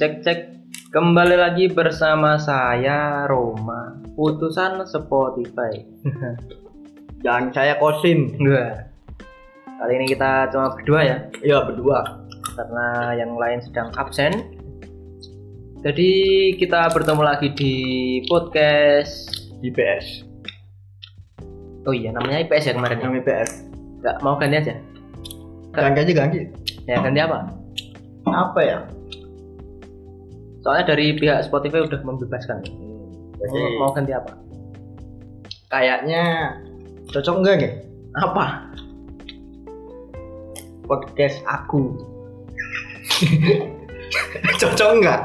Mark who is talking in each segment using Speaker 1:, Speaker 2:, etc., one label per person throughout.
Speaker 1: Cek cek kembali lagi bersama saya Roma utusan Spotify.
Speaker 2: Dan saya Kosim.
Speaker 1: Dua. Kali ini kita cuma berdua ya
Speaker 2: Ya berdua.
Speaker 1: karena yang lain sedang absen. Jadi kita bertemu lagi di podcast.
Speaker 2: IPS.
Speaker 1: Oh iya namanya IPS ya kemarin. ya?
Speaker 2: Yang IPS.
Speaker 1: Nggak mau ganti aja.
Speaker 2: Ganti aja ganti.
Speaker 1: Ya ganti apa?
Speaker 2: Apa ya?
Speaker 1: Soalnya dari pihak Spotify udah membebaskan.
Speaker 2: Hmm. Jadi
Speaker 1: Mau, mau ganti apa?
Speaker 2: kayaknya cocok enggak nih?
Speaker 1: Apa?
Speaker 2: Podcast aku. cocok enggak?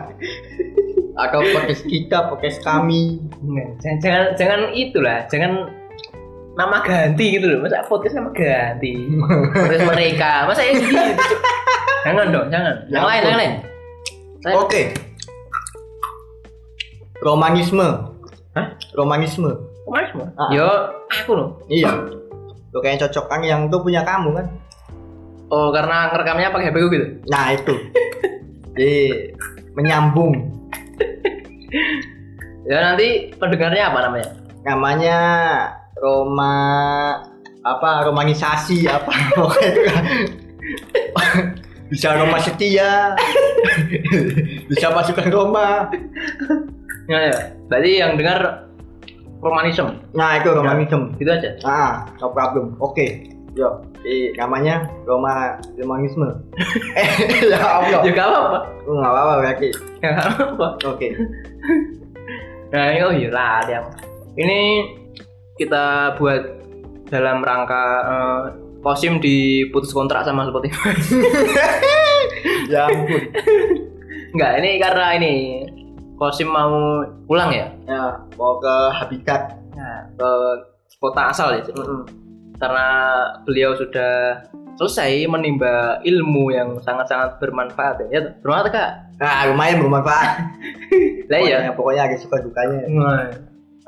Speaker 2: Atau podcast kita, podcast kami.
Speaker 1: Nggak, Iya, jangan, jangan jangan itulah, jangan nama ganti gitu loh. Masa podcast nama ganti? Podcast mereka. Masa ya gitu. Jangan dong, jangan.
Speaker 2: Ya
Speaker 1: Yang lain,
Speaker 2: ampun.
Speaker 1: yang lain. Saya-
Speaker 2: Oke. Romanisme.
Speaker 1: Hah?
Speaker 2: Romanisme.
Speaker 1: Kemarin semua.
Speaker 2: Ah.
Speaker 1: Yo, aku loh.
Speaker 2: Iya. Lo kayaknya cocok kan yang itu punya kamu kan?
Speaker 1: Oh, karena ngerekamnya pakai HP ku gitu.
Speaker 2: Nah itu. Jadi menyambung.
Speaker 1: Ya nanti pendengarnya apa namanya?
Speaker 2: namanya Roma apa romanisasi apa pokoknya itu kan. bisa Roma setia bisa masukkan Roma
Speaker 1: Ya, ya. Berarti yang dengar romanism
Speaker 2: nah itu romanisme
Speaker 1: gitu aja.
Speaker 2: ah no problem oke yo eh, namanya Roma romanisme eh ya Allah
Speaker 1: Ya gak apa-apa.
Speaker 2: Lu nggak apa-apa berarti
Speaker 1: Ya nggak apa-apa.
Speaker 2: oke
Speaker 1: Nah, ini- oh iya lah, ada yang- Ini kita buat dalam rangka eh, Kosim diputus kontrak sama Spotify.
Speaker 2: ya ampun
Speaker 1: Enggak, ini karena ini Kosim mau pulang ya
Speaker 2: ya mau ke habitat
Speaker 1: ke kota asal ya. Karena beliau sudah selesai menimba ilmu yang sangat-sangat bermanfaat ya. ya. toh? Bermanfaat Kak.
Speaker 2: nah lumayan bermanfaat
Speaker 1: Lah iya.
Speaker 2: pokoknya, pokoknya ada suka dukanya
Speaker 1: Nah,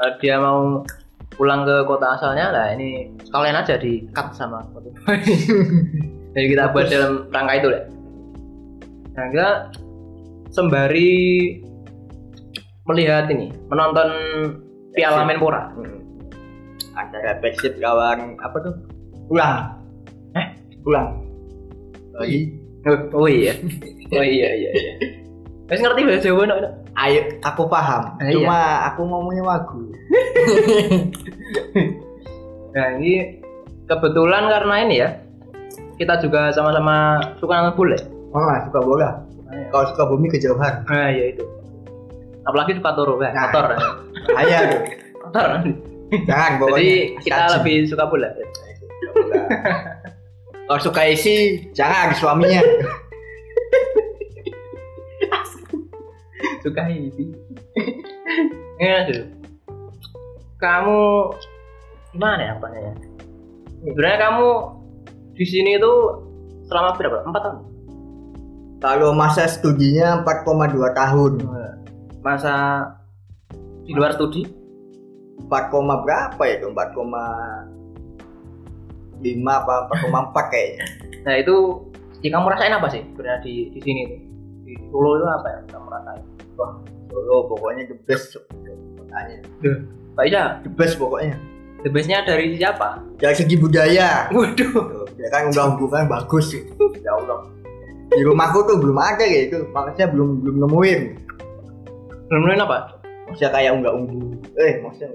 Speaker 1: eh, dia mau pulang ke kota asalnya lah ini sekalian aja di cut sama Spotify. Jadi kita buat
Speaker 2: Bagus.
Speaker 1: dalam rangka itu lah. Nah, kita sembari melihat ini, menonton Piala
Speaker 2: Sip.
Speaker 1: Menpora.
Speaker 2: antara Brexit Hmm. kawan apa tuh pulang
Speaker 1: Hah?
Speaker 2: pulang lagi
Speaker 1: Oh, oh iya. Oh iya iya iya. Wes ngerti bahasa Jawa no? no?
Speaker 2: ayo aku paham
Speaker 1: Ah, iya.
Speaker 2: cuma aku ngomongnya wagu
Speaker 1: Nah, ini kebetulan karena ini ya. Kita juga sama-sama suka nonton bola.
Speaker 2: Mama suka bola kalau suka bumi kejauhan
Speaker 1: Nah, ya itu. Apalagi suka toro, ya.
Speaker 2: Nah.
Speaker 1: Kotor.
Speaker 2: ayah tuh
Speaker 1: Kotor.
Speaker 2: jangan pokoknya
Speaker 1: Jadi kita
Speaker 2: Kaji.
Speaker 1: lebih suka bola.
Speaker 2: Suka bola. kalau suka isi jangan suaminya
Speaker 1: Suka ini. Ya, tuh. Kamu gimana ya pertanyaannya? Sebenarnya kamu di sini itu selama berapa? Empat tahun.
Speaker 2: kalau masa studinya 4,2 tahun
Speaker 1: Masa di luar studi?
Speaker 2: 4, koma berapa ya itu 4, koma 5 apa 4,4 kayaknya
Speaker 1: Nah itu ya kamu rasain apa sih sebenarnya di di sini itu? Di Solo itu apa yang kamu rasain?
Speaker 2: Solo pokoknya the best Makanya,
Speaker 1: Pak Ida,
Speaker 2: the best pokoknya
Speaker 1: the bestnya dari siapa?
Speaker 2: dari segi budaya
Speaker 1: Waduh.
Speaker 2: tuh, ya kan udah hubungan bagus sih ya Allah di rumahku tuh belum ada kayak itu maksudnya belum belum nemuin
Speaker 1: Bener-bener apa?
Speaker 2: maksudnya kayak unggah unggu eh maksudnya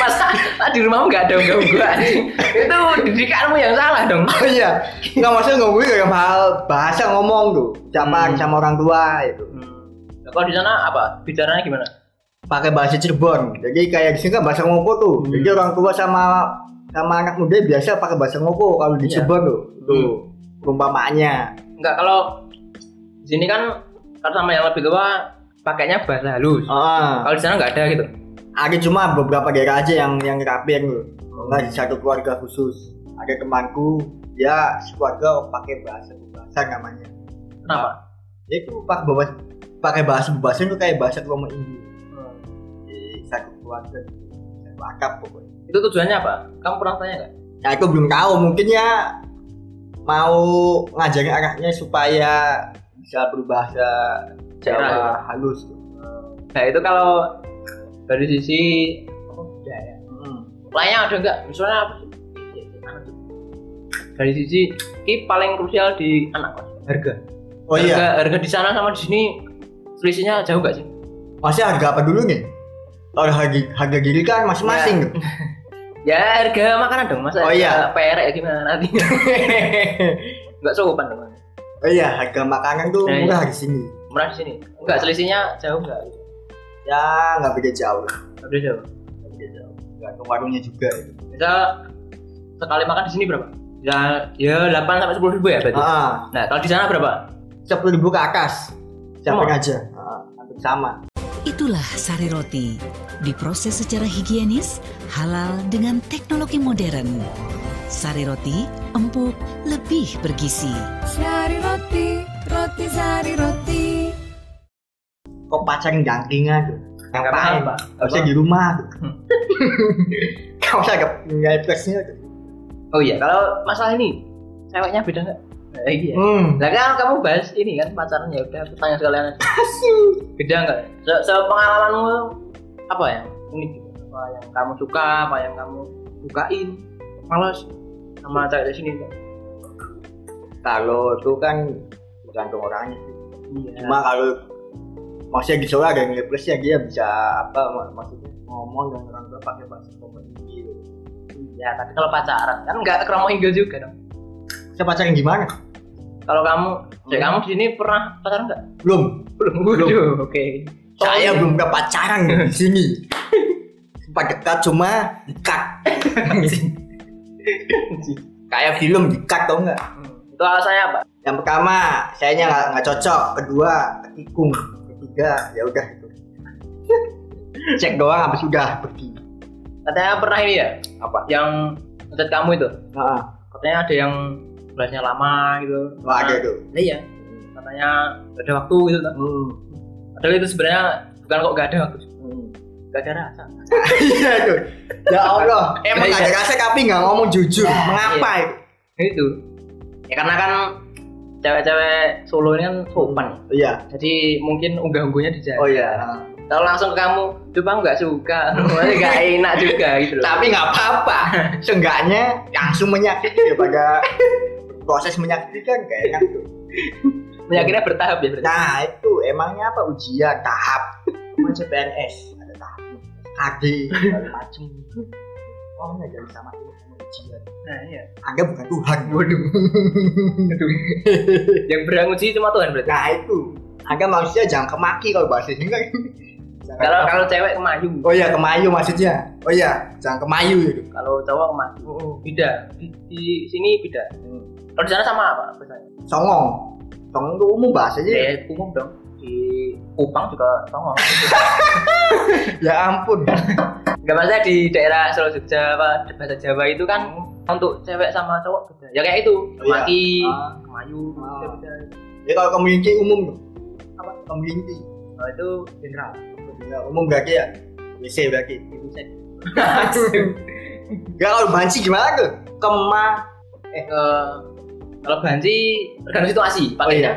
Speaker 1: Masa tadi di rumahmu nggak ada unggah unggahan Itu didikanmu yang salah dong.
Speaker 2: oh iya nggak maksudnya nggak unggu dalam hal bahasa ngomong tuh ucapan
Speaker 1: Hmm.
Speaker 2: sama orang tua itu
Speaker 1: Hmm. Kalau di sana apa? Bicaranya gimana?
Speaker 2: pakai bahasa Cirebon jadi kayak di sini kan bahasa ngoko tuh
Speaker 1: Hmm.
Speaker 2: jadi orang tua sama sama anak muda biasa pakai bahasa ngoko kalau di
Speaker 1: Iya.
Speaker 2: Cirebon tuh tuh perumpamaannya
Speaker 1: Enggak kalau di sini kan kalau sama yang lebih tua pakainya bahasa halus.
Speaker 2: Ah.
Speaker 1: Kalau di sana nggak ada gitu.
Speaker 2: ada cuma beberapa daerah aja yang yang rapian loh
Speaker 1: Hmm.
Speaker 2: nggak di satu keluarga khusus ada temanku dia keluarga pakai bahasa bahasa namanya
Speaker 1: Kenapa?
Speaker 2: dia itu pakai bahasa pakai bahasa bahasa itu kayak bahasa kelompok India
Speaker 1: Hmm.
Speaker 2: di satu keluarga satu akap pokoknya
Speaker 1: Itu tujuannya apa? Kamu pernah tanya nggak?
Speaker 2: nah aku belum tahu mungkin ya mau ngajarin anaknya supaya bisa berbahasa
Speaker 1: Daerah.
Speaker 2: Jawa halus
Speaker 1: Nah itu kalau dari sisi apa,
Speaker 2: Ya,
Speaker 1: budaya. Lainnya ada nggak? Misalnya apa sih? Dari sisi ini paling krusial di anak kos. Harga.
Speaker 2: oh iya
Speaker 1: harga, harga di sana sama di sini selisihnya jauh nggak sih?
Speaker 2: masih harga apa dulu nih kalau harga harga gini kan masing-masing gitu.
Speaker 1: Ya harga makanan dong masa.
Speaker 2: Oh, iya.
Speaker 1: harga Perek gimana nanti? Nggak sopan dong.
Speaker 2: oh iya harga makanan tuh
Speaker 1: Nah, iya.
Speaker 2: murah di sini
Speaker 1: Murah di sini. Nggak selisihnya jauh nggak?
Speaker 2: ya nggak beda jauh
Speaker 1: Nggak beda jauh.
Speaker 2: Nggak beda jauh. nggak ke warungnya juga gitu.
Speaker 1: Misal sekali makan di sini berapa? Ya, ya 8 sampai 10 ribu ya berarti.
Speaker 2: ah
Speaker 1: Nah, kalau di sana berapa?
Speaker 2: sepuluh ribu ke atas siapa
Speaker 1: Sama.
Speaker 2: aja Ah, hampir sama
Speaker 3: Itulah sari roti. Diproses secara higienis, halal dengan teknologi modern. Sari roti empuk, lebih bergizi.
Speaker 4: Sari roti, roti sari roti.
Speaker 2: kok pacaran jangkingan tuh
Speaker 1: Nggak paham, Pak.
Speaker 2: nggak usah di rumah tuh nggak usah nggak nggak flexnya tuh.
Speaker 1: Oh iya, kalau masalah ini ceweknya beda nggak? Nah, iya.
Speaker 2: hmm
Speaker 1: Nah, kan kamu bahas ini kan pacaran ya udah aku tanya sekalian aja. Beda nggak? Se, pengalamanmu apa ya? Ini juga, apa yang kamu suka, apa yang kamu sukain? Males sama cewek di sini enggak?
Speaker 2: kalau itu kan tergantung orangnya sih.
Speaker 1: Iya.
Speaker 2: cuma kalau maksudnya di sore ada nilai plusnya dia bisa apa mak- maksudnya ngomong dengan orang tua pakai bahasa komedi gitu
Speaker 1: Iya, tapi kalau pacaran kan nggak kromo hinggil juga dong.
Speaker 2: saya pacaran gimana
Speaker 1: Kalau kamu, cewek
Speaker 2: Hmm.
Speaker 1: kamu di sini pernah pacaran nggak?
Speaker 2: belum
Speaker 1: Belum. Waduh, oke.
Speaker 2: saya belum pernah pacaran di sini sempat dekat cuma dekat kayak film dekat tau nggak
Speaker 1: Hmm. Itu alasannya apa?
Speaker 2: yang pertama sayanya nggak nggak cocok kedua tikung ketiga ya udah itu cek doang habis sudah pergi
Speaker 1: Katanya pernah ini ya,
Speaker 2: apa
Speaker 1: yang ngecat kamu itu.
Speaker 2: Heeh.
Speaker 1: Katanya ada yang belasnya lama gitu.
Speaker 2: oh, ada tuh
Speaker 1: Nah, iya. Katanya gak ada waktu gitu. Kan.
Speaker 2: Hmm.
Speaker 1: Padahal itu sebenarnya bukan kok gak ada waktu. Gak ada rasa.
Speaker 2: iya tuh ya allah emang
Speaker 1: Iya, iya.
Speaker 2: ada Iya. rasa tapi nggak ngomong jujur mengapa itu
Speaker 1: Nah, Itu. Ya karena kan cewek-cewek Solo ini kan sopan.
Speaker 2: iya
Speaker 1: Jadi mungkin unggah-unggahnya dijaga.
Speaker 2: oh iya
Speaker 1: Kalau langsung ke kamu, tuh kamu gak suka. Maksudnya gak enak juga gitu loh.
Speaker 2: tapi nggak apa-apa seenggaknya langsung menyakiti daripada proses menyakiti kan nggak enak tuh
Speaker 1: Meyakinnya bertahap ya berarti.
Speaker 2: Nah itu emangnya apa ujian tahap Cuma CPNS ada tahap KD segala macem Oh nggak jadi sama ini sama ujian
Speaker 1: Nah, iya.
Speaker 2: Anda bukan Tuhan
Speaker 1: Waduh. Aduh. yang berangun sih cuma Tuhan berarti.
Speaker 2: Nah itu Anda manusia jangan kemaki kalau bahasa ini kan Jangan
Speaker 1: Kalau
Speaker 2: kemaki.
Speaker 1: kalau cewek kemayu,
Speaker 2: Oh iya kemayu maksudnya Oh iya jangan kemayu gitu
Speaker 1: kalau cowok kemayu. Beda. Di, di sini beda. Kalau di sana sama apa? Biasanya?
Speaker 2: Songong Songong itu umum bahasanya
Speaker 1: Ya umum dong. Di Kupang juga sama.
Speaker 2: Ya ampun
Speaker 1: Gak maksudnya di daerah Solo Jogja apa di bahasa Jawa itu kan untuk cewek sama cowok beda. Ya kayak itu,
Speaker 2: Iya.
Speaker 1: maki,
Speaker 2: Ah.
Speaker 1: kemayu,
Speaker 2: Ah.
Speaker 1: beda.
Speaker 2: Ya kalau kemelinci umum tuh Apa? Kemelinci
Speaker 1: Kalau Oh, itu general.
Speaker 2: Ya, Umum berarti ya WC berarti
Speaker 1: Itu saya-
Speaker 2: Gak kalau banci gimana tuh? Kema
Speaker 1: eh eh, kalau banci tergantung situasi
Speaker 2: iya.
Speaker 1: pakainya.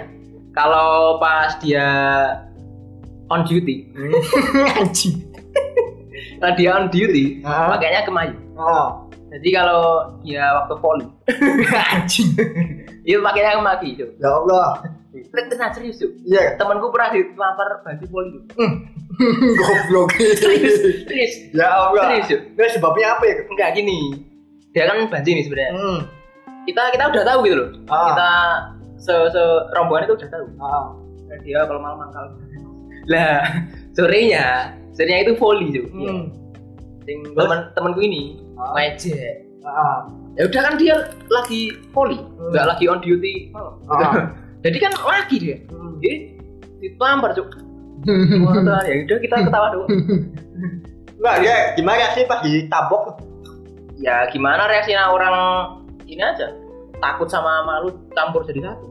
Speaker 1: Kalau pas dia on duty,
Speaker 2: anjing
Speaker 1: kalau dia on duty pakainya kemayu.
Speaker 2: oh
Speaker 1: Jadi kalau dia waktu poli,
Speaker 2: anjing
Speaker 1: itu pakainya kemaki itu.
Speaker 2: ya Allah
Speaker 1: Pernah serius tuh.
Speaker 2: iya
Speaker 1: Temanku pernah ditampar banci poli itu.
Speaker 2: goblok
Speaker 1: Serius, serius,
Speaker 2: ya Allah
Speaker 1: serius yuk.
Speaker 2: nah sebabnya apa ya
Speaker 1: Enggak gini. Dia kan banci nih sebenarnya.
Speaker 2: hmm
Speaker 1: Kita kita udah tahu gitu loh.
Speaker 2: Ah.
Speaker 1: Kita se, se rombongan itu udah tahu.
Speaker 2: ah
Speaker 1: Dan Dia kalau malam mangkal. Lah, sorenya, sorenya itu volley tuh.
Speaker 2: hmm
Speaker 1: Sing temen temanku ini
Speaker 2: Ah.
Speaker 1: ngejek.
Speaker 2: ah
Speaker 1: Ya udah kan dia lagi volley,
Speaker 2: Hmm.
Speaker 1: enggak lagi on duty. malam.
Speaker 2: Ah.
Speaker 1: Jadi kan lagi dia.
Speaker 2: Hmm.
Speaker 1: Jadi ditampar cuk. Wah, Tuhan, ya udah kita ketawa dulu.
Speaker 2: Nah, dia gimana sih pas ditabok?
Speaker 1: ya gimana reaksinya orang ini aja takut sama malu campur jadi satu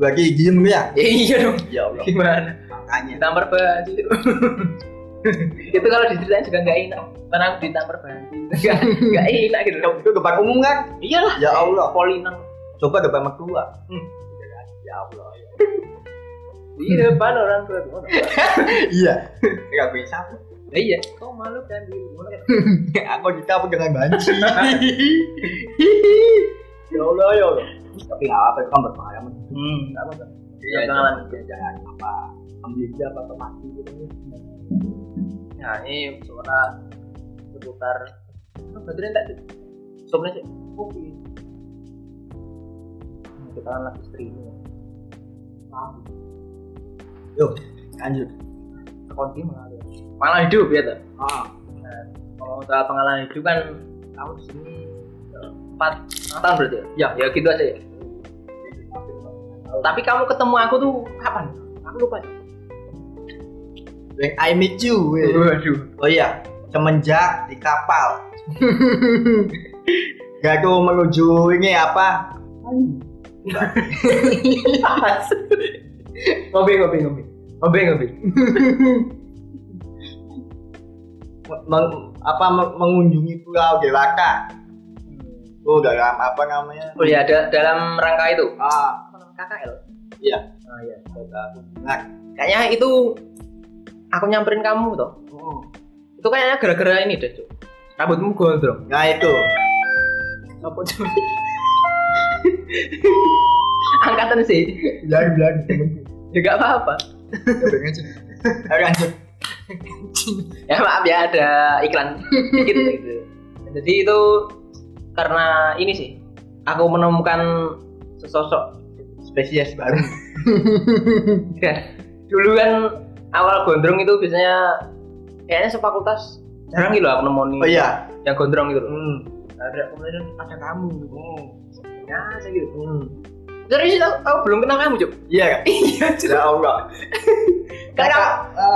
Speaker 2: Lagi diem ya?
Speaker 1: ya iya dong
Speaker 2: Ya Allah.
Speaker 1: gimana
Speaker 2: Makanya.
Speaker 1: ditampar banci itu kalau diceritain juga nggak enak karena aku ditampar banci nggak nggak enak gitu
Speaker 2: Itu depan umum kan?
Speaker 1: iyalah
Speaker 2: Ya Allah.
Speaker 1: polinan
Speaker 2: Hmm. Coba depan mertua.
Speaker 1: Hmm.
Speaker 2: Ya Allah.
Speaker 1: di depan orang tua gimana?
Speaker 2: iya nggak bisa apa
Speaker 1: Nah, iya kau malu kan di mana
Speaker 2: aku ditapu dengan banci
Speaker 1: ya allah ya allah
Speaker 2: tapi nggak apa itu kan berbahaya
Speaker 1: hmm nggak apa
Speaker 2: Iya,
Speaker 1: Jangan.
Speaker 2: jangan ya, jangan apa ambil dia apa atau mati gitu
Speaker 1: nah ini sebenarnya seputar oh, baterainya tak sebenarnya sih kopi Nah, kita kan lagi streaming
Speaker 2: yuk lanjut
Speaker 1: konti malah malah hidup ya tuh
Speaker 2: ah
Speaker 1: kalau Oh, soal pengalaman hidup kan kamu di sini
Speaker 2: Hmm.
Speaker 1: eh, empat tahun berarti ya iya. ya gitu aja ya tapi kamu ketemu aku tuh kapan aku lupa
Speaker 2: when I meet you weh.
Speaker 1: waduh
Speaker 2: Oh iya, semenjak di kapal. Gak tuh menuju ini apa?
Speaker 1: ngopi ngopi ngopi ngopi ngopi
Speaker 2: Meng- apa meng- mengunjungi Pulau Dewata. Oh, dalam apa namanya?
Speaker 1: oh ya da- dalam rangka itu
Speaker 2: Ah,
Speaker 1: KKL
Speaker 2: Iya.
Speaker 1: oh, iya
Speaker 2: nah,
Speaker 1: kayaknya itu aku nyamperin kamu toh
Speaker 2: oh.
Speaker 1: itu kayaknya gara-gara ini deh Cuk. rambutmu gondrong
Speaker 2: nah itu.
Speaker 1: apa Cuk? angkatan sih
Speaker 2: Bilang bilang temenku.
Speaker 1: ya gak apa-apa
Speaker 2: Udah lanjut. Ayo lanjut.
Speaker 1: ya maaf ya ada iklan sedikit gitu. jadi itu karena ini sih aku menemukan sesosok
Speaker 2: Spesies baru.
Speaker 1: dan dulu kan awal gondrong itu biasanya kayaknya sefakultas jarang gitu aku nemoni
Speaker 2: Oh iya.
Speaker 1: yang gondrong gitu loh.
Speaker 2: Hmm.
Speaker 1: ada kemudian ada kamu
Speaker 2: Hmm.
Speaker 1: ya saya gitu
Speaker 2: Hmm.
Speaker 1: serius aku, aku belum kenal kamu Cuk.
Speaker 2: Iya. Iya. Ya Allah.
Speaker 1: Karena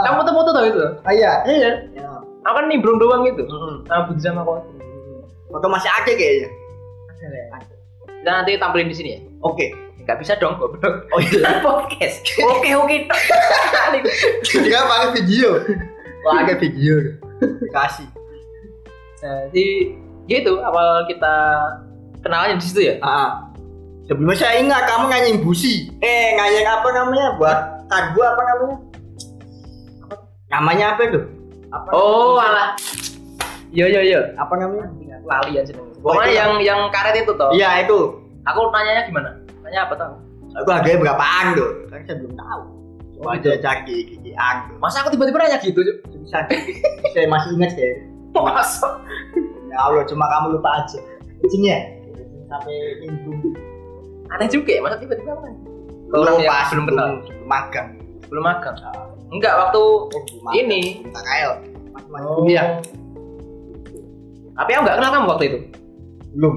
Speaker 1: kamu
Speaker 2: Ah,
Speaker 1: tuh foto tau itu
Speaker 2: ah, iya.
Speaker 1: iya
Speaker 2: Ya.
Speaker 1: aku kan nimbrung doang gitu
Speaker 2: Hmm.
Speaker 1: sama Budi sama kau
Speaker 2: Foto masih ada kayaknya.
Speaker 1: ada ya kita nanti tampilin di sini ya
Speaker 2: Oke.
Speaker 1: nggak bisa dong goblok
Speaker 2: Oh iya.
Speaker 1: podcast. Oke oke.
Speaker 2: Dia pakai video. Pakai video. Kasih.
Speaker 1: Jadi gitu awal kita kenalannya di situ ya.
Speaker 2: Ah. Sebelumnya saya ingat kamu nganyeng busi. Eh, nganyeng apa namanya? Buat kargo apa namanya? Apa? Namanya apa itu? Apa?
Speaker 1: Oh
Speaker 2: Iya.
Speaker 1: alah. Yo yo yo.
Speaker 2: Apa namanya?
Speaker 1: Lali aja nih.
Speaker 2: Iya, Wah,
Speaker 1: Pokoknya
Speaker 2: itu
Speaker 1: yang yang karet itu toh.
Speaker 2: Iya, itu.
Speaker 1: Aku nanyanya gimana? Nanya apa toh?
Speaker 2: Aku harganya berapaan tuh? Kan saya belum tahu. Coba
Speaker 1: Oh,
Speaker 2: aja
Speaker 1: gitu.
Speaker 2: cari gigian tuh.
Speaker 1: Masa aku tiba-tiba nanya gitu? Cuk?
Speaker 2: Bisa. saya masih ingat saya.
Speaker 1: Masa?
Speaker 2: Ya Allah, cuma kamu lupa aja. Kucingnya sampai minggu.
Speaker 1: Aneh juga ya, masa tiba-tiba apa?
Speaker 2: Belum
Speaker 1: Orang yang
Speaker 2: pas,
Speaker 1: belum kenal.
Speaker 2: Oh, iya, belum magang.
Speaker 1: Belum magang. Enggak, waktu
Speaker 2: Oh, belum
Speaker 1: ini.
Speaker 2: Minta kail. Mas Mas kuliah.
Speaker 1: Tapi aku nggak kenal kamu waktu itu.
Speaker 2: Belum.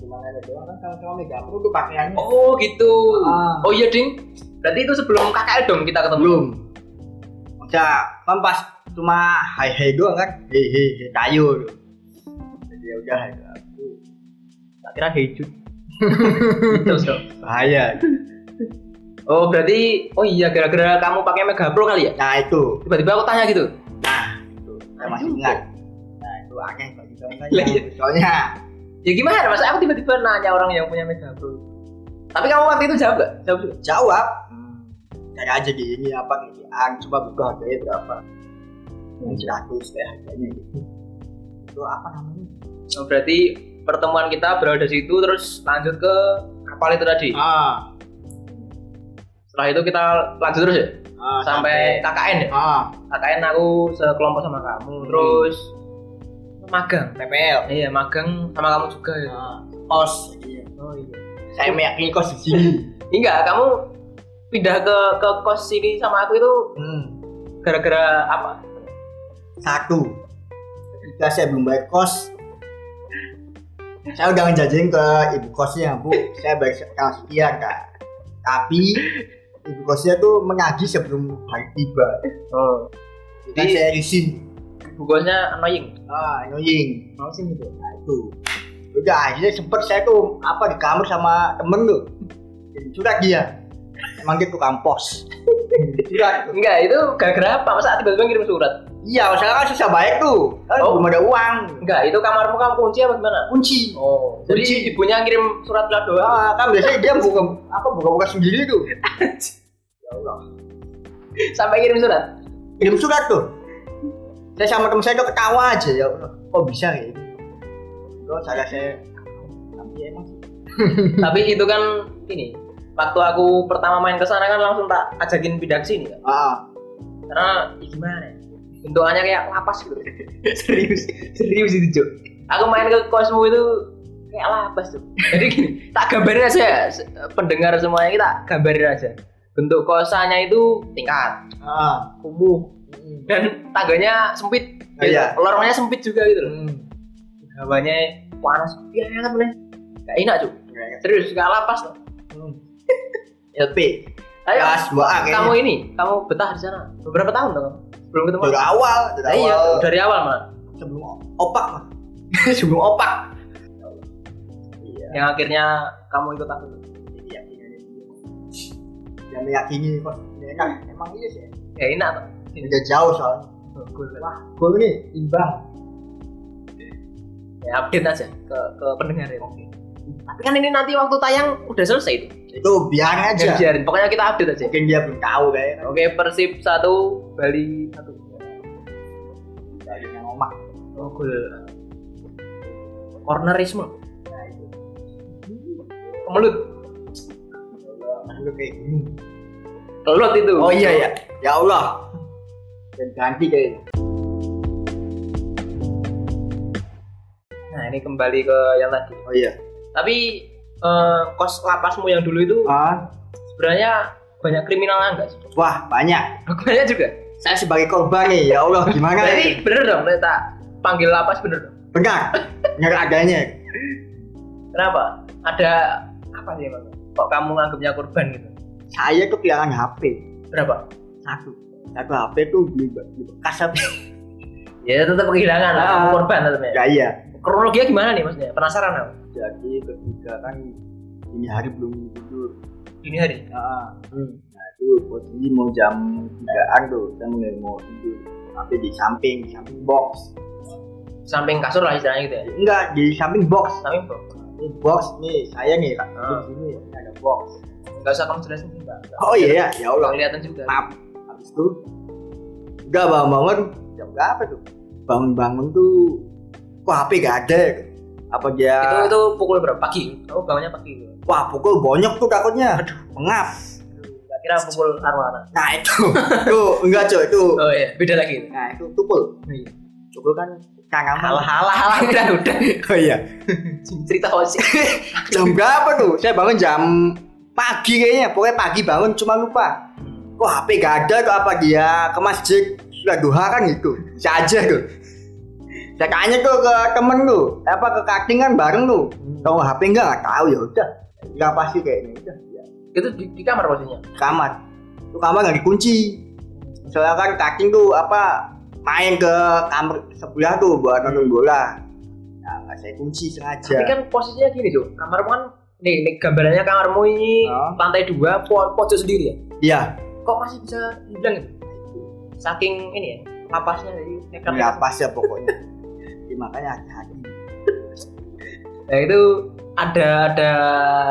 Speaker 2: Cuma ada doang kan kalau sama Mega Pro tuh pakaiannya.
Speaker 1: Oh gitu.
Speaker 2: Ah.
Speaker 1: Oh iya ding. Berarti itu sebelum KKL dong kita ketemu.
Speaker 2: Belum. Udah, kan pas cuma hai hai doang kan. Hei hei hei kayu. Jadi ya udah hai kayu.
Speaker 1: Tak kira hijau. Terus dong.
Speaker 2: Bahaya.
Speaker 1: Oh berarti oh iya gara-gara kamu pakai Mega Pro kali ya?
Speaker 2: Nah itu,
Speaker 1: Tiba-tiba aku tanya gitu.
Speaker 2: itu saya masih
Speaker 1: Aduh.
Speaker 2: ingat. Nah itu aneh bagi kamu kan.
Speaker 1: Lah, iya.
Speaker 2: Soalnya
Speaker 1: Ya gimana mas? Aku tiba-tiba nanya orang yang punya Mega Pro. Tapi kamu waktu itu jawab gak? Jawab juga.
Speaker 2: jawab. Kayak aja gini apa gini. Ang coba buka harganya berapa? Yang seratus kayak harganya gitu. Itu apa namanya?
Speaker 1: Oh, berarti pertemuan kita berawal dari situ terus lanjut ke kapal itu tadi.
Speaker 2: Ah,
Speaker 1: Setelah itu kita lanjut terus ya
Speaker 2: ah,
Speaker 1: sampai KKN ya.
Speaker 2: ah
Speaker 1: KKN aku sekelompok sama kamu. Terus magang.
Speaker 2: PPL.
Speaker 1: Iya magang sama kamu juga ya.
Speaker 2: Os.
Speaker 1: Oh iya.
Speaker 2: Saya meyakini kos di sini.
Speaker 1: Enggak, kamu pindah ke ke kos sini sama aku itu
Speaker 2: Hmm.
Speaker 1: gara-gara apa?
Speaker 2: Satu. Ketika saya belum bayar kos, saya udah ngejajarin ke ibu kosnya, Bu. Saya bayar setengah sekian, Kak. Tapi ibu kosnya tuh menagih sebelum hari tiba.
Speaker 1: Oh.
Speaker 2: Jadi
Speaker 1: Jadi-
Speaker 2: saya risin.
Speaker 1: Bugosnya annoying.
Speaker 2: Ah, annoying.
Speaker 1: Mau sih gitu.
Speaker 2: Nah, itu. Udah akhirnya sempet saya tuh apa di kamar sama temen tuh. Jadi Curhat dia. Emang dia tukang pos. Curhat.
Speaker 1: Enggak, itu gara-gara apa? Masa tiba-tiba ngirim surat?
Speaker 2: Iya, masalah kan susah bayar tuh. Kan
Speaker 1: Oh.
Speaker 2: belum ada uang.
Speaker 1: Enggak, itu kamarmu kamu kunci apa gimana?
Speaker 2: Kunci.
Speaker 1: Oh, jadi
Speaker 2: Kunci.
Speaker 1: ibunya ngirim surat lah doang.
Speaker 2: Ah, kan biasanya dia buka apa buka-buka sendiri tuh. ya Allah.
Speaker 1: sampai kirim surat
Speaker 2: kirim surat tuh saya sama teman saya tuh ketawa aja ya Allah, kok bisa kayak gitu Terus saya saya tapi emang sih.
Speaker 1: tapi itu kan ini waktu aku pertama main ke sana kan langsung tak ajakin pindah ke sini kan.
Speaker 2: ah
Speaker 1: karena ya gimana ya, bentukannya kayak lapas gitu serius serius itu Jok aku main ke Cosmo itu kayak lapas tuh jadi gini tak gambarin aja ya, se- pendengar semuanya kita gambarin aja bentuk kosannya itu tingkat
Speaker 2: ah
Speaker 1: kumuh dan tangganya sempit
Speaker 2: Ah,
Speaker 1: gitu.
Speaker 2: iya.
Speaker 1: lorongnya sempit juga gitu loh
Speaker 2: hmm.
Speaker 1: hawanya panas banget boleh gak enak cuy
Speaker 2: Kayak-
Speaker 1: serius gak lapas tuh
Speaker 2: hmm.
Speaker 1: LP ayo
Speaker 2: Kelas 2A kayaknya.
Speaker 1: kamu ini kamu betah di sana beberapa tahun dong belum ketemu
Speaker 2: dari awal dari
Speaker 1: Nah,
Speaker 2: awal
Speaker 1: iya, dari awal malah
Speaker 2: sebelum opak mah sebelum opak iya
Speaker 1: yang akhirnya kamu ikut aku
Speaker 2: iya iya yang meyakini kok enak emang iya sih
Speaker 1: ya enak tuh
Speaker 2: udah jauh soalnya wah gue ini imbang
Speaker 1: ya update aja ke ke pendengar ya tapi kan ini nanti waktu tayang udah selesai itu
Speaker 2: itu
Speaker 1: Jangan
Speaker 2: biar aja
Speaker 1: biarin pokoknya kita update aja
Speaker 2: mungkin dia belum tahu kayaknya
Speaker 1: oke persib satu Bali satu
Speaker 2: dari yang omak
Speaker 1: oh gol cornerisme
Speaker 2: nah itu
Speaker 1: kemelut
Speaker 2: Kan lu kayak gini
Speaker 1: kelut itu
Speaker 2: oh iya ya ya Allah dan ganti kayaknya
Speaker 1: nah ini kembali ke yang tadi
Speaker 2: oh iya
Speaker 1: tapi eh, kos lapasmu yang dulu itu
Speaker 2: ah
Speaker 1: sebenarnya banyak kriminalnya enggak sih?
Speaker 2: wah banyak
Speaker 1: Banyak juga.
Speaker 2: saya sebagai korban nih ya Allah gimana
Speaker 1: Berarti
Speaker 2: ini
Speaker 1: Nah, bener dong, Nek, tak panggil lapas bener dong.
Speaker 2: benar benar adanya
Speaker 1: Kenapa? Ada apa sih emang? Kok kamu nganggapnya korban gitu?
Speaker 2: saya tuh kehilangan HP
Speaker 1: Berapa?
Speaker 2: satu satu HP tuh beli be- beli bekas HP
Speaker 1: Ya tetap kehilangan, lah,
Speaker 2: Ah.
Speaker 1: kamu korban tetap ya.
Speaker 2: ya iya
Speaker 1: Kronologinya gimana nih maksudnya? Penasaran aku.
Speaker 2: jadi ketika kan ini hari belum tidur
Speaker 1: Ini hari.
Speaker 2: nah,
Speaker 1: Hmm.
Speaker 2: nah itu posisi mau jam tigaan tuh saya mulai mau tidur HP di samping di samping box
Speaker 1: Samping kasur lah istilahnya gitu ya.
Speaker 2: enggak di samping box
Speaker 1: Samping bro.
Speaker 2: ini box nih saya nih kak
Speaker 1: Ah.
Speaker 2: di sini ini ada box
Speaker 1: Enggak usah kamu jelasin enggak.
Speaker 2: oh iya ya
Speaker 1: Enggak
Speaker 2: Allah
Speaker 1: kelihatan juga.
Speaker 2: maaf habis itu udah bangun bangun jam berapa tuh bangun bangun tuh kok HP gak ada ya? apa dia
Speaker 1: Itu itu pukul berapa? Pagi. Kamu bangunnya pagi. gitu.
Speaker 2: Wah pukul bonyok tuh takutnya. Aduh, pengap.
Speaker 1: Enggak kira pukul arwana.
Speaker 2: Nah itu, itu enggak coy itu.
Speaker 1: Oh iya, beda lagi.
Speaker 2: Nah itu tukul.
Speaker 1: Iya.
Speaker 2: Tukul kan kangen
Speaker 1: Halah halah halah udah udah.
Speaker 2: Oh iya.
Speaker 1: Cerita hoax.
Speaker 2: Jam berapa tuh? Saya bangun jam pagi kayaknya. Pokoknya pagi bangun cuma lupa. Kok HP gak ada atau apa dia ke masjid sudah duha kan gitu. Saya aja tuh. Saya tanya tuh ke temen lu, apa ke kating kan bareng lu. Tahu HP enggak? Enggak tahu ya udah. Enggak pasti kayaknya udah. Ya.
Speaker 1: itu di, di kamar posisinya
Speaker 2: kamar itu kamar nggak dikunci soalnya kan kaking tuh apa main ke kamar sebelah tuh buat nonton bola nah nggak saya kunci sengaja
Speaker 1: tapi kan posisinya gini tuh kamarmu kan nih, nih gambarannya kamarmu ini
Speaker 2: Oh.
Speaker 1: lantai dua po pojok sendiri ya
Speaker 2: iya
Speaker 1: kok masih bisa dibilang gitu saking ini ya lapasnya dari nekat
Speaker 2: nggak pas ya pokoknya Jadi makanya hati-hati
Speaker 1: nah itu ada ada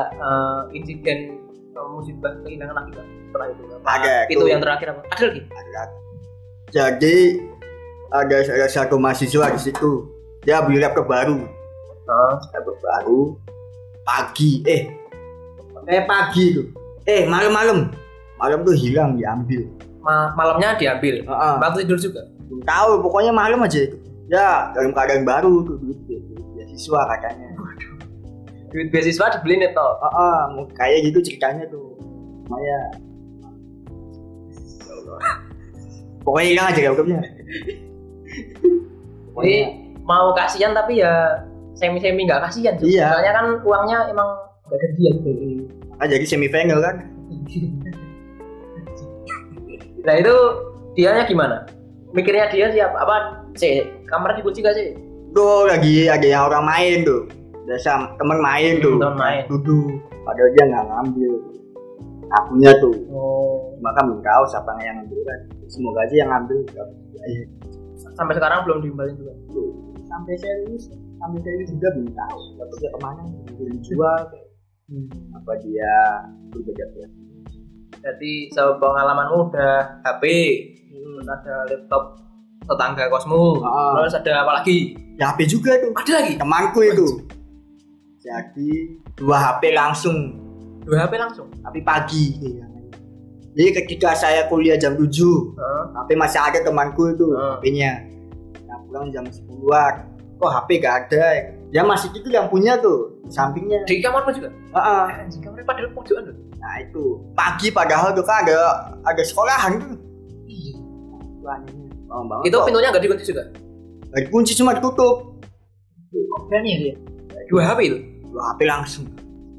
Speaker 1: eh, insiden eh, musibah kehilangan lagi setelah itu Apa
Speaker 2: Ada,
Speaker 1: itu
Speaker 2: tuh.
Speaker 1: yang terakhir apa ada lagi
Speaker 2: Hati-hati. jadi ada ada satu mahasiswa di situ dia beli laptop baru laptop baru pagi eh eh pagi tuh eh malam-malam malam tuh hilang diambil
Speaker 1: Ma- malamnya diambil
Speaker 2: Heeh.
Speaker 1: waktu tidur juga
Speaker 2: belum tahu pokoknya malam aja itu ya dalam keadaan baru tuh duit duit- duit beasiswa katanya
Speaker 1: duit beasiswa dibeliin itu
Speaker 2: ah ah, mau- kayak gitu ceritanya tuh Maya pokoknya hilang aja laptopnya Oh,
Speaker 1: Jadi
Speaker 2: iya.
Speaker 1: mau kasihan tapi ya semi-semi nggak kasihan juga.
Speaker 2: Iya.
Speaker 1: Soalnya kan uangnya emang nggak dari dia gitu.
Speaker 2: ah jadi semifinal kan
Speaker 1: nah itu dianya gimana? Mikirnya dia siapa? Apa sih? Kamar dikunci gak sih?
Speaker 2: tuh lagi ada yang orang main tuh biasa temen main tuh
Speaker 1: Temen main.
Speaker 2: duduk padahal dia nggak ngambil akunya tuh
Speaker 1: Oh.
Speaker 2: cuma kan belum tahu siapa yang ngambil kan semoga aja yang ngambil ya,
Speaker 1: Sampai sekarang belum diimbalin juga.
Speaker 2: sampai serius sampai serius Gitu. juga belum tahu dapatnya Hmm. kemana belum dijual kayak apa dia berbeda ya
Speaker 1: jadi sama pengalamanmu udah HP terus ada laptop tetangga kosmu
Speaker 2: Ah.
Speaker 1: terus ada apa lagi
Speaker 2: Ya, HP juga tuh
Speaker 1: ada lagi
Speaker 2: temanku itu jadi dua HP langsung
Speaker 1: dua HP langsung
Speaker 2: tapi pagi gitu ya. jadi ketika saya kuliah jam 7
Speaker 1: Heeh.
Speaker 2: HP masih ada temanku itu
Speaker 1: Ah.
Speaker 2: HP-nya nah, pulang jam 10-an kok HP gak ada ya masih itu yang punya tuh sampingnya
Speaker 1: di kamarmu juga
Speaker 2: Ah, ah.
Speaker 1: anjing kamarnya padahal pojokan loh
Speaker 2: nah itu pagi padahal tuh kan ada ada sekolahan tuh
Speaker 1: iya
Speaker 2: Itu anehnya. Bawang-bawang
Speaker 1: itu
Speaker 2: kok.
Speaker 1: pintunya nggak dikunci juga
Speaker 2: Nggak dikunci cuma ditutup
Speaker 1: kok berani ya dia dua HP itu
Speaker 2: dua HP langsung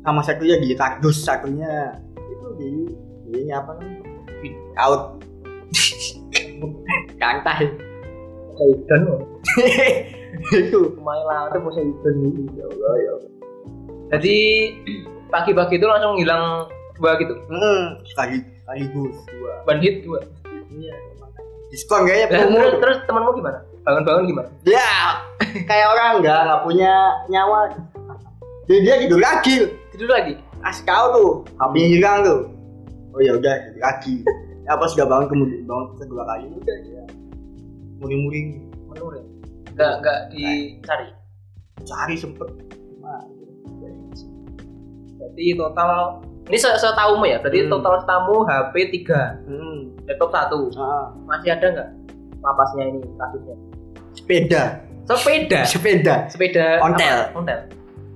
Speaker 2: sama satunya di kardus satunya itu di di apa namanya di out kantai
Speaker 5: Poseidon loh.
Speaker 2: itu
Speaker 5: Lumayan lah, itu Poseidon gitu.
Speaker 2: ya Allah ya Allah
Speaker 1: jadi pagi-pagi itu langsung hilang dua gitu
Speaker 2: hmm, sekali sekaligus dua
Speaker 1: one hit dua
Speaker 2: diskon kayaknya
Speaker 1: Lah,
Speaker 2: promo
Speaker 1: terus terus temanmu gimana bangun-bangun gimana
Speaker 2: ya kayak orang nggak nggak punya nyawa jadi dia tidur lagi
Speaker 1: tidur lagi
Speaker 2: kasih kau tuh habis hilang tuh oh ya udah tidur lagi ya pas sudah bangun kemudian bangun kedua kali udah ya muring-muring
Speaker 1: menurut nggak
Speaker 2: Hmm.
Speaker 1: nggak dicari
Speaker 2: cari sempet Cuma,
Speaker 1: berarti total ini se setahumu ya berarti
Speaker 2: Hmm.
Speaker 1: total setahumu HP 3
Speaker 2: hmm,
Speaker 1: laptop
Speaker 2: ah,
Speaker 1: 1 masih ada nggak lapasnya ini kasusnya
Speaker 2: sepeda
Speaker 1: sepeda
Speaker 2: sepeda
Speaker 1: sepeda
Speaker 2: Ontel.
Speaker 1: apa? ontel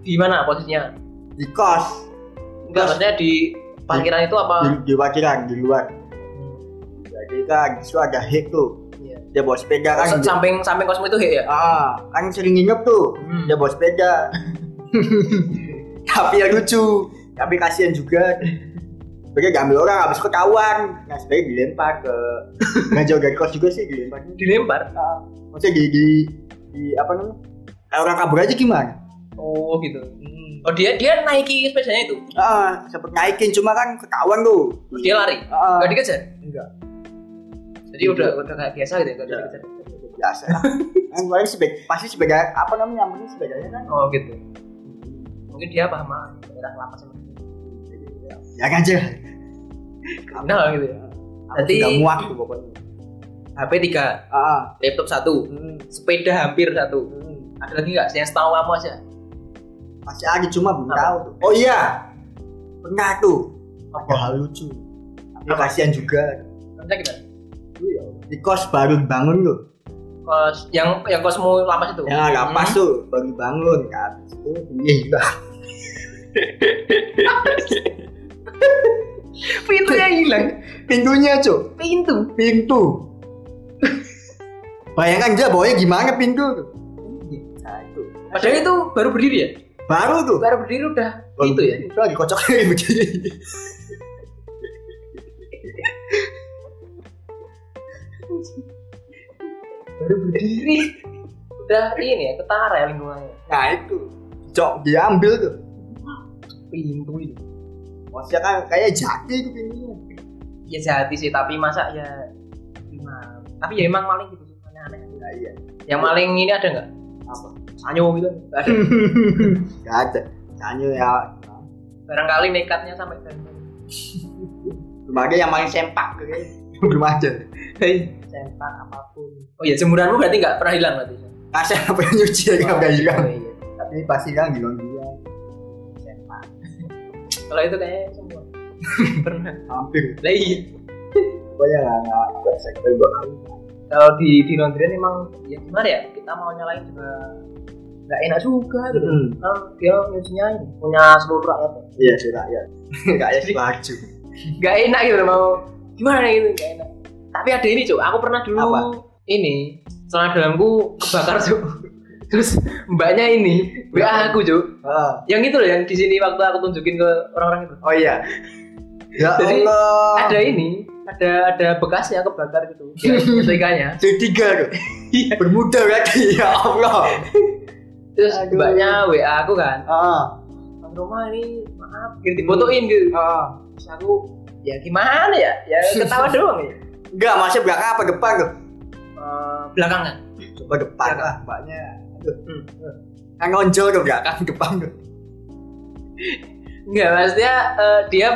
Speaker 1: di mana posisinya
Speaker 2: di kos
Speaker 1: enggak maksudnya di parkiran itu apa
Speaker 2: di, di parkiran di luar jadi kan di situ ada hek tuh
Speaker 1: Iya.
Speaker 2: dia bawa sepeda kan
Speaker 1: Sa- samping samping kosmu itu hek ya
Speaker 2: ah kan sering nginep tuh
Speaker 1: Hmm.
Speaker 2: dia bawa sepeda tapi ya lucu tapi kasihan juga mereka diambil orang habis ketahuan nah sepeda dilempar ke nggak jauh dari kos juga sih dilempar
Speaker 1: dilempar
Speaker 2: Ah, maksudnya di, di, di apa namanya Kayak orang kabur aja gimana
Speaker 1: oh gitu oh dia dia naiki sepedanya itu
Speaker 2: ah sempet naikin cuma kan ketahuan tuh
Speaker 1: dia lari
Speaker 2: ah,
Speaker 1: nggak dikejar
Speaker 2: enggak
Speaker 1: jadi udah udah kayak biasa gitu ya, nggak
Speaker 2: Iya.
Speaker 1: dikejar
Speaker 2: biasa lah yang paling sebagai pasti sebagai apa namanya yang penting sebagainya kan
Speaker 1: oh gitu mungkin dia paham ah, daerah lapas emang
Speaker 2: ya kan aja
Speaker 1: kriminal gitu ya Nanti-
Speaker 2: nggak muak tuh pokoknya
Speaker 1: HP 3
Speaker 2: ah
Speaker 1: laptop 1
Speaker 2: hmm,
Speaker 1: sepeda hampir satu
Speaker 2: hmm.
Speaker 1: ada lagi nggak yang setahu kamu aja
Speaker 2: masih ada cuma belum
Speaker 1: Apa?
Speaker 2: tahu tuh oh iya pernah tuh ada hal lucu tapi
Speaker 1: Apa?
Speaker 2: kasihan juga
Speaker 1: maksudnya gimana
Speaker 2: di kos baru bangun tuh
Speaker 1: kos yang yang kosmu lapas itu
Speaker 2: ya nggak pas
Speaker 1: Hmm.
Speaker 2: tuh baru bangun kan itu iya
Speaker 1: pintunya hilang
Speaker 2: pintunya cuy
Speaker 1: pintu
Speaker 2: pintu bayangkan dia bawanya gimana pintu tuh nah itu
Speaker 1: padahal Iya, itu baru berdiri ya
Speaker 2: baru tuh
Speaker 1: baru berdiri udah gitu ya
Speaker 2: itu lagi kocok kayak begini
Speaker 1: baru berdiri udah ini ya ketara ya lingkungannya
Speaker 2: nah itu cok diambil tuh
Speaker 1: pintu itu
Speaker 2: maksudnya kan kayak jati itu pintunya
Speaker 1: ya jati sih tapi masa ya gimana tapi ya emang maling gitu sih aneh-aneh
Speaker 2: ya iya
Speaker 1: yang maling ini ada nggak
Speaker 2: apa
Speaker 1: sanyo gitu nggak ada
Speaker 2: gak ada Tanya ya
Speaker 1: barangkali nekatnya sampai dari
Speaker 2: belum ada yang main sempak kayaknya. belum ada
Speaker 1: sempak apapun oh ya jemuranmu berarti nggak pernah hilang berarti
Speaker 2: kasih apa yang nyuci ya gak
Speaker 1: Oh,
Speaker 2: hilang
Speaker 1: iya.
Speaker 2: tapi pasti hilang hilang dia
Speaker 1: Sempak. Kalau itu kayaknya semua. Pernah.
Speaker 2: hampir
Speaker 1: Lah iya.
Speaker 2: pokoknya gak gak gak sekali gua kali
Speaker 1: Kalau di di Londrian emang ya gimana ya? Kita mau nyalain juga nggak enak juga gitu.
Speaker 2: Hmm.
Speaker 1: Kan dia nyucinya ini punya seluruh rakyat.
Speaker 2: iya sudah ya kayak baju
Speaker 1: Nggak enak gitu mau gimana gitu nggak enak. Tapi ada ini cuy. Aku pernah dulu
Speaker 2: Apa?
Speaker 1: ini celana dalamku kebakar cuy. Terus mbaknya ini WA aku cuy.
Speaker 2: Ah.
Speaker 1: Yang itu loh yang di sini waktu aku tunjukin ke orang-orang itu.
Speaker 2: oh iya ya
Speaker 1: Jadi,
Speaker 2: Allah
Speaker 1: Ada ini, ada ada bekasnya kebakar gitu. Ya, ketikanya.
Speaker 2: jadi tiga tuh
Speaker 1: Iya.
Speaker 2: bermuda lagi ya Allah
Speaker 1: terus
Speaker 2: Aduh.
Speaker 1: mbaknya WA aku kan
Speaker 2: ah
Speaker 1: bang Roma ini maaf gitu dibotoin gitu
Speaker 2: ah
Speaker 1: terus aku ya gimana ya ya ketawa doang ya
Speaker 2: Enggak, masih belakang apa depan tuh?
Speaker 1: Eh, belakangan
Speaker 2: Coba depan
Speaker 1: Belakang.
Speaker 2: lah, mbaknya. Aduh.
Speaker 1: Hmm.
Speaker 2: Kan ngonjol tuh belakang depan tuh.
Speaker 1: nggak maksudnya eh, dia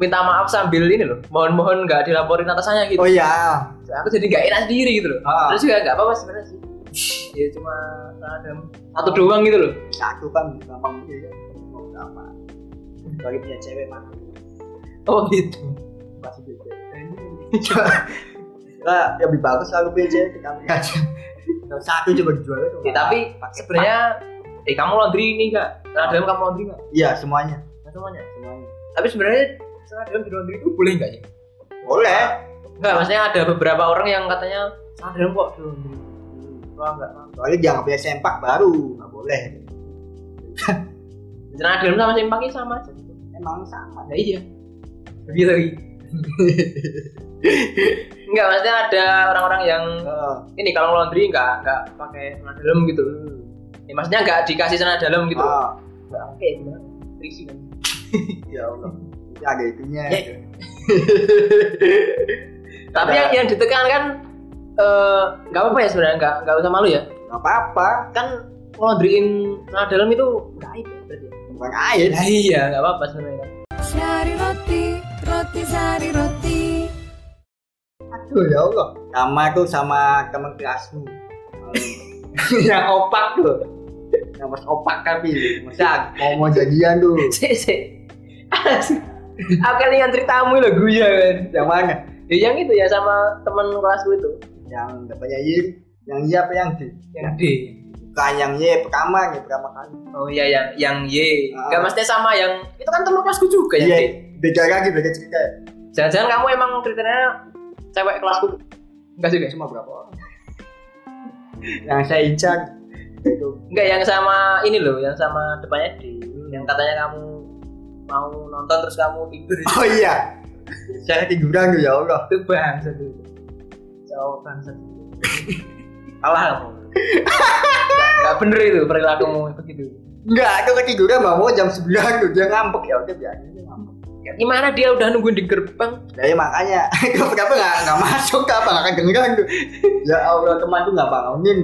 Speaker 1: minta maaf sambil ini loh mohon-mohon nggak dilaporin atasannya gitu
Speaker 2: oh iya
Speaker 1: aku jadi nggak enak sendiri gitu loh
Speaker 2: Ah.
Speaker 1: terus juga nggak apa-apa sebenarnya sih ya cuma ada satu doang gitu loh
Speaker 2: satu kan gampang juga ya mau berapa bagi punya cewek mana
Speaker 1: oh gitu
Speaker 2: pasti beda lah yang lebih bagus selalu punya cewek kita aja Kalau Nah, satu coba dijual itu
Speaker 1: Ya, tapi sebenarnya eh kamu laundry ini enggak celana dalam kamu laundry enggak
Speaker 2: iya semuanya
Speaker 1: Enggak Nah, semuanya
Speaker 2: semuanya
Speaker 1: tapi sebenarnya celana dalam di laundry itu boleh enggak sih
Speaker 2: boleh
Speaker 1: enggak maksudnya ada beberapa orang yang katanya celana dalam kok di laundry wah enggak mau.
Speaker 2: soalnya jangan punya sempak baru nggak boleh
Speaker 1: celana dalam sama simpangnya sama aja
Speaker 2: emang sama
Speaker 1: nah iya lebih lagi enggak maksudnya ada orang-orang yang
Speaker 2: Eh,
Speaker 1: ini kalau laundry enggak enggak pakai celana dalam gitu ya, maksudnya enggak dikasih celana dalam gitu
Speaker 2: ah,
Speaker 1: enggak pakai gimana Terisi kan
Speaker 2: ya Allah Ini ada itunya
Speaker 1: Ya. Tapi yang, yang ditekankan eh, nggak apa-apa ya sebenarnya nggak nggak usah malu ya.
Speaker 2: nggak apa-apa
Speaker 1: Kan laundryin celana dalam itu nggak aib ya berarti.
Speaker 2: bukan air
Speaker 1: Ya iya nggak apa-apa sebenarnya. kan.
Speaker 3: Sari roti, roti sari roti
Speaker 2: aduh ya Allah sama itu sama teman kelasmu Eh, yang opak tuh yang pas opak tapi masa mau mau jadian tuh
Speaker 1: Sik sik. Aku yang ceritamu lo guya kan.
Speaker 2: yang mana
Speaker 1: Ya yang itu ya sama temen kelasku itu.
Speaker 2: yang depannya Yir yang Y apa yang D
Speaker 1: Yang D.
Speaker 2: bukan yang Y pertama ya pertama kali
Speaker 1: Oh iya yang yang Y.
Speaker 2: Ah.
Speaker 1: Nggak maksudnya sama yang itu kan temen kelasku juga yang
Speaker 2: Iya,
Speaker 1: D.
Speaker 2: beda lagi beda cerita
Speaker 1: Jangan-jangan kamu emang kriterianya cewek kelasku. Enggak juga.
Speaker 2: cuma berapa orang yang saya incar itu
Speaker 1: Enggak yang sama ini loh, yang sama depannya di yang katanya kamu mau nonton terus kamu tidur itu
Speaker 2: oh iya saya tiduran tuh ya Allah
Speaker 1: Itu bangsa itu. Cowok bangsa itu. Kalah kamu. Enggak bener itu perilakumu begitu.
Speaker 2: Enggak, aku ketiduran bangun jam 9 tuh dia ngambek ya udah biarin dia ngambek.
Speaker 1: Ya, Gimana dia udah nungguin di gerbang?
Speaker 2: Jadi makanya kenapa nggak nggak masuk apa nggak kedengeran tuh. Ya Allah teman tuh nggak bangunin.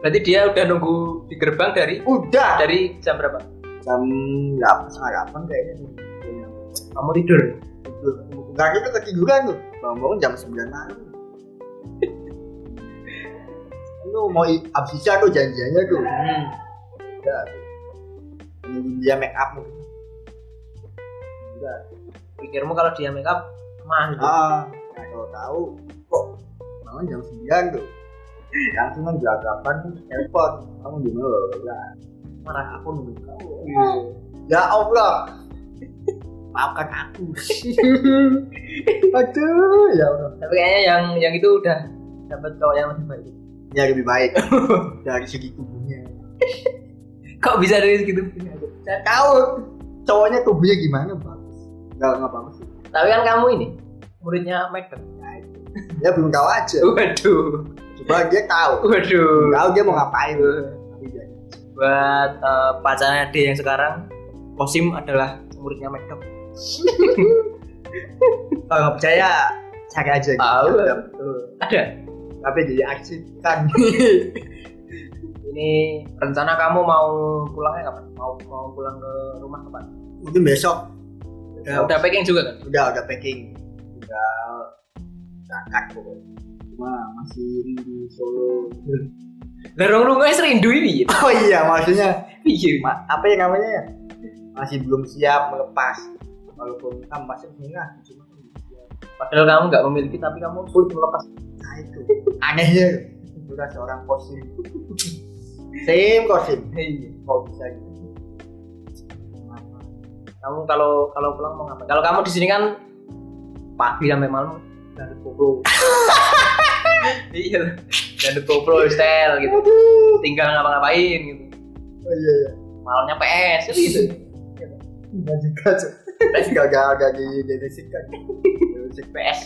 Speaker 1: Berarti dia udah nunggu di gerbang dari
Speaker 2: Udah
Speaker 1: dari jam berapa?
Speaker 2: jam delapan setengah delapan kayaknya tuh.
Speaker 1: Kamu tidur.
Speaker 2: Enggak itu ketiduran tuh bangun bangun jam 9 malam. Lu mau i- abis isya tuh janjiannya tuh.
Speaker 1: Hmm.
Speaker 2: Udah tuh. Nunggu dia make up mungkin. Udah.
Speaker 1: Pikirmu kalau dia make up mah gitu.
Speaker 2: Ah, nah, kalau tahu kok bangun jam 9 tuh. Langsung kan gelagapan telepon. Kamu di mana? Bla, bla, bla.
Speaker 1: marah.
Speaker 2: Aku nunggu kamu. Ya Allah. Maafkan aku. Aduh, ya Allah.
Speaker 1: Tapi kayaknya yang yang itu udah dapat cowok yang lebih baik.
Speaker 2: Ya lebih baik dari segi tubuhnya.
Speaker 1: Kok bisa gitu? dari segitu?
Speaker 2: Saya tahu cowoknya tubuhnya gimana bagus. Enggak enggak bagus. sih.
Speaker 1: Tapi kan kamu ini muridnya Madden.
Speaker 2: Nah, itu. Dia belum tahu aja.
Speaker 1: Waduh,
Speaker 2: Coba dia tahu.
Speaker 1: waduh.
Speaker 2: Tahu dia mau ngapain. Tapi dia
Speaker 1: Buat eh, pacarnya D yang sekarang, Kosim adalah muridnya Madden.
Speaker 2: kalau nggak percaya cari aja di
Speaker 1: Tahu.
Speaker 2: Instagram.
Speaker 1: Ada.
Speaker 2: tapi jadi aksi kan
Speaker 1: Ini rencana kamu mau pulangnya kapan? Mau mau pulang ke rumah kapan?
Speaker 2: mungkin besok
Speaker 1: Udah, udah packing juga kan?
Speaker 2: udah udah packing tinggal berangkat kok cuma masih di Solo
Speaker 1: Lah rong guys rindu ini.
Speaker 2: oh iya maksudnya
Speaker 1: Iya.
Speaker 2: ma- apa ya namanya ya masih belum siap melepas walaupun kan masih punya cuma kan belum siap.
Speaker 1: Padahal kamu nggak memiliki tapi kamu sulit melepas.
Speaker 2: nah itu anehnya udah seorang kosim same kosim
Speaker 1: Iya.
Speaker 2: kok bisa gitu
Speaker 1: Kamu kalau kalau pulang mau ngapain? Kalau kamu di sini kan pagi sampai malam dari GoPro. iya. Dan GoPro style gitu.
Speaker 2: aduh
Speaker 1: tinggal ngapa-ngapain gitu
Speaker 2: oh iya iya
Speaker 1: malamnya PS kan gitu
Speaker 2: Enggak juga cuy. Tapi gak gak gak di genetik kan. Genetik
Speaker 1: PS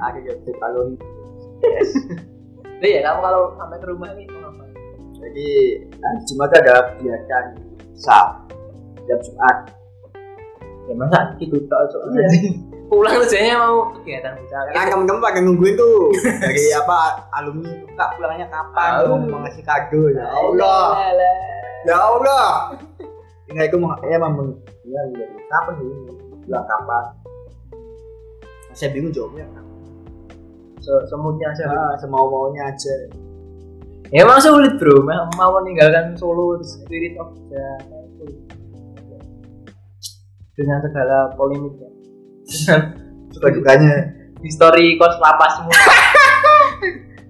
Speaker 2: ada genetik balon.
Speaker 1: Jadi ya kamu kalau sampai ke rumah ini mau ngapain
Speaker 2: Jadi hari Jumat ada kegiatan sab jam Jumat.
Speaker 1: ya masa gitu tak soalnya pulang kerjanya mau kegiatan misalnya
Speaker 2: Kan temen-temen pada nungguin tuh dari apa alumni tuh, kak pulangnya kapan?
Speaker 1: Tahu.
Speaker 2: Lu mau ngasih kado ya Allah.
Speaker 1: Iya,
Speaker 2: Ya Allah. Enggak itu mau ya mamang. Ya udah Iya, kapan dulu. bilang kapan saya bingung jawabnya
Speaker 1: Se- semutnya aja bro.
Speaker 2: ah, semau maunya aja
Speaker 1: ya emang sulit bro mau, mau meninggalkan Solo the spirit of Jakarta itu dengan segala polemiknya
Speaker 2: suka dukanya
Speaker 1: histori kos lapas semua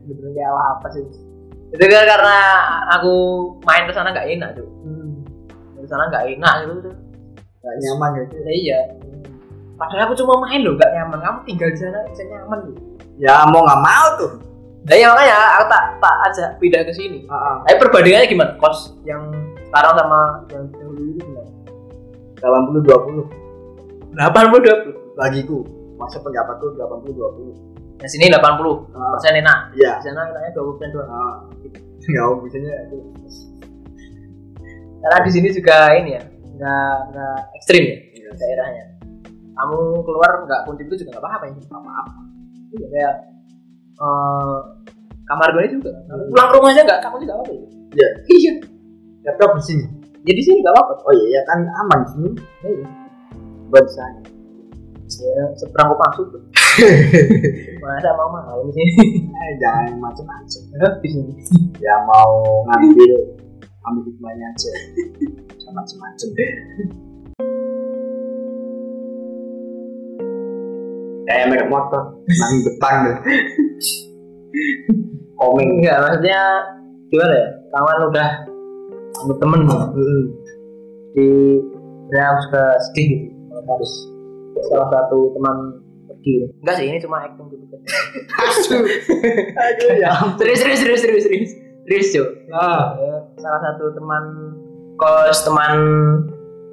Speaker 1: bener-bener kayak lapas itu itu kan karena aku main kesana nggak enak tuh kesana nggak enak gitu tuh
Speaker 2: gak nyaman gitu
Speaker 1: Ya, iya padahal aku cuma main loh nggak nyaman kamu tinggal di sana bisa nyaman loh
Speaker 2: ya mau nggak mau tuh
Speaker 1: nah ya makanya aku tak tak ajak pindah ke sini
Speaker 2: Ah, ah.
Speaker 1: tapi perbandingannya gimana kos yang sekarang sama yang dahulu itu gimana
Speaker 2: 80 20
Speaker 1: delapan puluh dua puluh
Speaker 2: bagiku masa pendapatku 80
Speaker 1: nah sini delapan puluh
Speaker 2: 20 ah,
Speaker 1: persen enak
Speaker 2: ya
Speaker 1: di sana enaknya dua puluh persen doang
Speaker 2: ah, nggak mau bisanya itu
Speaker 1: karena di sini juga ini ya nggak nggak ekstrim ya
Speaker 2: Iya.
Speaker 1: daerahnya kamu keluar nggak kunci itu juga nggak apa-apa ini nggak apa-apa Iya, kayak eh, kamar gue juga
Speaker 2: Hmm.
Speaker 1: pulang ke rumah aja nggak kamu juga apa-apa ya?
Speaker 2: Iya.
Speaker 1: iya
Speaker 2: laptop di sini
Speaker 1: jadi sini nggak apa-apa
Speaker 2: oh iya ya kan aman di sini
Speaker 1: Iya.
Speaker 2: buat saya
Speaker 1: ya seberang kupang sudah masa mau mahal ini sih
Speaker 2: eh, jangan macam-macam
Speaker 1: habis ini
Speaker 2: ya mau ngambil ambil hikmahnya aja Jangan macem-macem kayak Eh, merek motor nang depan deh komeng
Speaker 1: enggak maksudnya gimana ya kawan udah kamu temen
Speaker 2: Mm-mm.
Speaker 1: di sebenarnya aku suka sedih gitu kalau harus salah satu teman pergi enggak sih ini cuma acting gitu
Speaker 2: asu aduh ya
Speaker 1: serius serius serius serius serius serius Jo.
Speaker 2: ah
Speaker 1: Eh, salah satu teman kos teman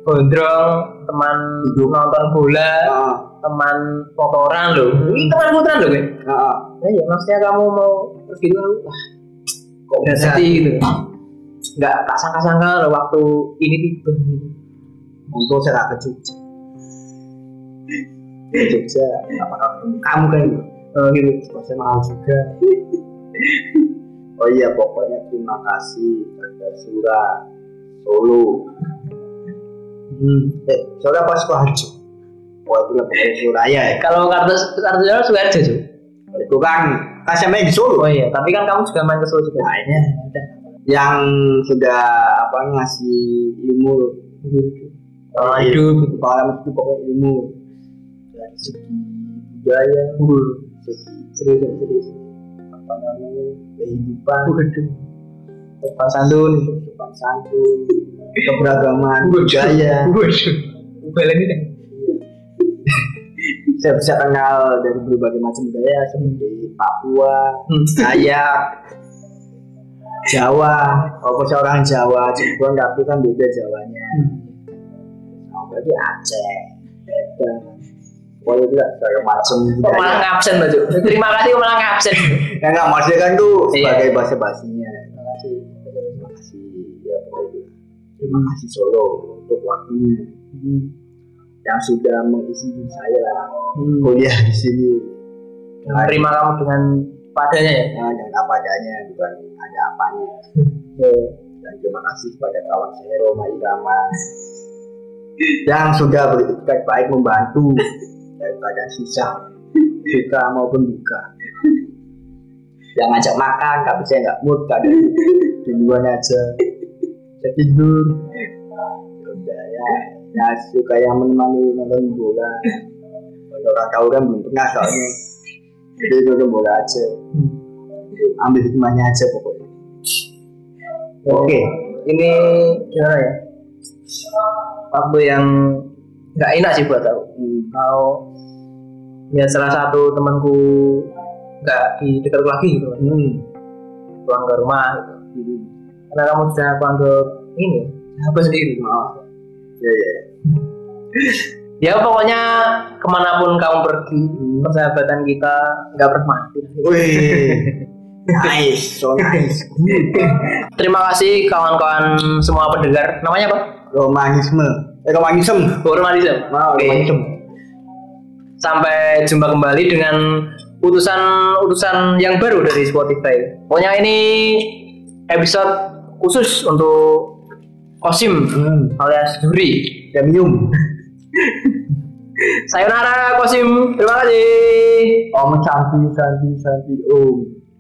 Speaker 1: gondrong teman
Speaker 2: Hidup.
Speaker 1: nonton bola
Speaker 2: ah
Speaker 1: teman kotoran loh ini teman kotoran loh kan
Speaker 2: ah
Speaker 1: nah, ya maksudnya kamu mau pergi tuh aku ah, kok
Speaker 2: Bisa.
Speaker 1: udah nanti gitu nggak tak sangka-sangka loh waktu ini tiba gitu.
Speaker 2: untung saya nggak ke Jogja Ke Jogja apakah ketemu kamu kan
Speaker 1: Eh, gitu
Speaker 2: Terus saya mahal juga. oh iya, pokoknya terima kasih Kata Sura Solo.
Speaker 1: Hmm.
Speaker 2: Eh, soalnya pas Suharjo. Oh, itu lah pokoknya Suraya ya.
Speaker 1: kalau kartu kartu jalan suka aja Jo.
Speaker 2: Itu kan KSM di Solo.
Speaker 1: oh iya tapi kan kamu juga main ke Solo juga
Speaker 2: Nah, ini yang sudah apa ngasih ilmu
Speaker 1: Oh,
Speaker 2: Pengalaman
Speaker 1: hidup.
Speaker 2: pengalaman hidup pokoknya ilmu dari segi budaya, segi serius serius apa namanya kehidupan,
Speaker 1: Sopan santun
Speaker 2: sopan santun, keberagaman, budaya.
Speaker 1: Balik ini deh.
Speaker 2: Saya bisa kenal dari berbagai macam budaya seperti Papua,
Speaker 1: Hmm.
Speaker 2: Dayak, Jawa. Walaupun saya orang Jawa, Cirebon tapi kan beda Jawanya. Nah, berarti Oh, Aceh, Medan. Pokoknya itu lah, berbagai macam
Speaker 1: Kok malah
Speaker 2: budaya.
Speaker 1: ngabsen Mbak Jo? Terima kasih kok malah ngabsen.
Speaker 2: Ya nggak maksudnya kan tuh
Speaker 1: Iya.
Speaker 2: sebagai bahasa basinya. Terima kasih, terima kasih. Ya pokoknya itu. Terima kasih Solo untuk waktunya.
Speaker 1: Hmm.
Speaker 2: yang sudah mengisi hidup saya kuliah di sini
Speaker 1: Hmm. Terima kamu dengan padanya ya.
Speaker 2: Nah, dan apa adanya bukan ada apanya dan terima kasih kepada kawan saya Roma Irama yang sudah beriktikad baik membantu daripada susah suka maupun duka yang ngajak makan tapi saya nggak mood kadang duluan aja saya tidur Ya udah ya ya suka yang menemani nonton bola Kalau orang tahu kan belum pernah soalnya jadi nonton bola aja ambil hikmahnya aja pokoknya oke
Speaker 1: Ini gimana ya? Waktu yang nggak enak sih buat aku.
Speaker 2: Hmm.
Speaker 1: Kalau ya salah satu temanku nggak di dekat lagi gitu, pulang ke rumah gitu.
Speaker 2: Hmm.
Speaker 1: Karena kamu sudah aku anggap ini apa sendiri.
Speaker 2: Ya ya.
Speaker 1: Ya pokoknya kemanapun kamu pergi, persahabatan kita nggak pernah mati.
Speaker 2: Wih. nice, so nice.
Speaker 1: Terima kasih kawan-kawan semua pendengar. Namanya apa?
Speaker 2: Romantisme. Eh romantisme.
Speaker 1: Formalism.
Speaker 2: Wow,
Speaker 1: Oke.
Speaker 2: romantisme.
Speaker 1: Sampai jumpa kembali dengan utusan-utusan yang baru dari Spotify. Pokoknya ini episode khusus untuk Kosim
Speaker 2: Hmm.
Speaker 1: alias Duri.
Speaker 2: Premium.
Speaker 1: Sayonara Kosim. Terima kasih.
Speaker 2: Oh, Om Santi Oh. Santi Santi Om.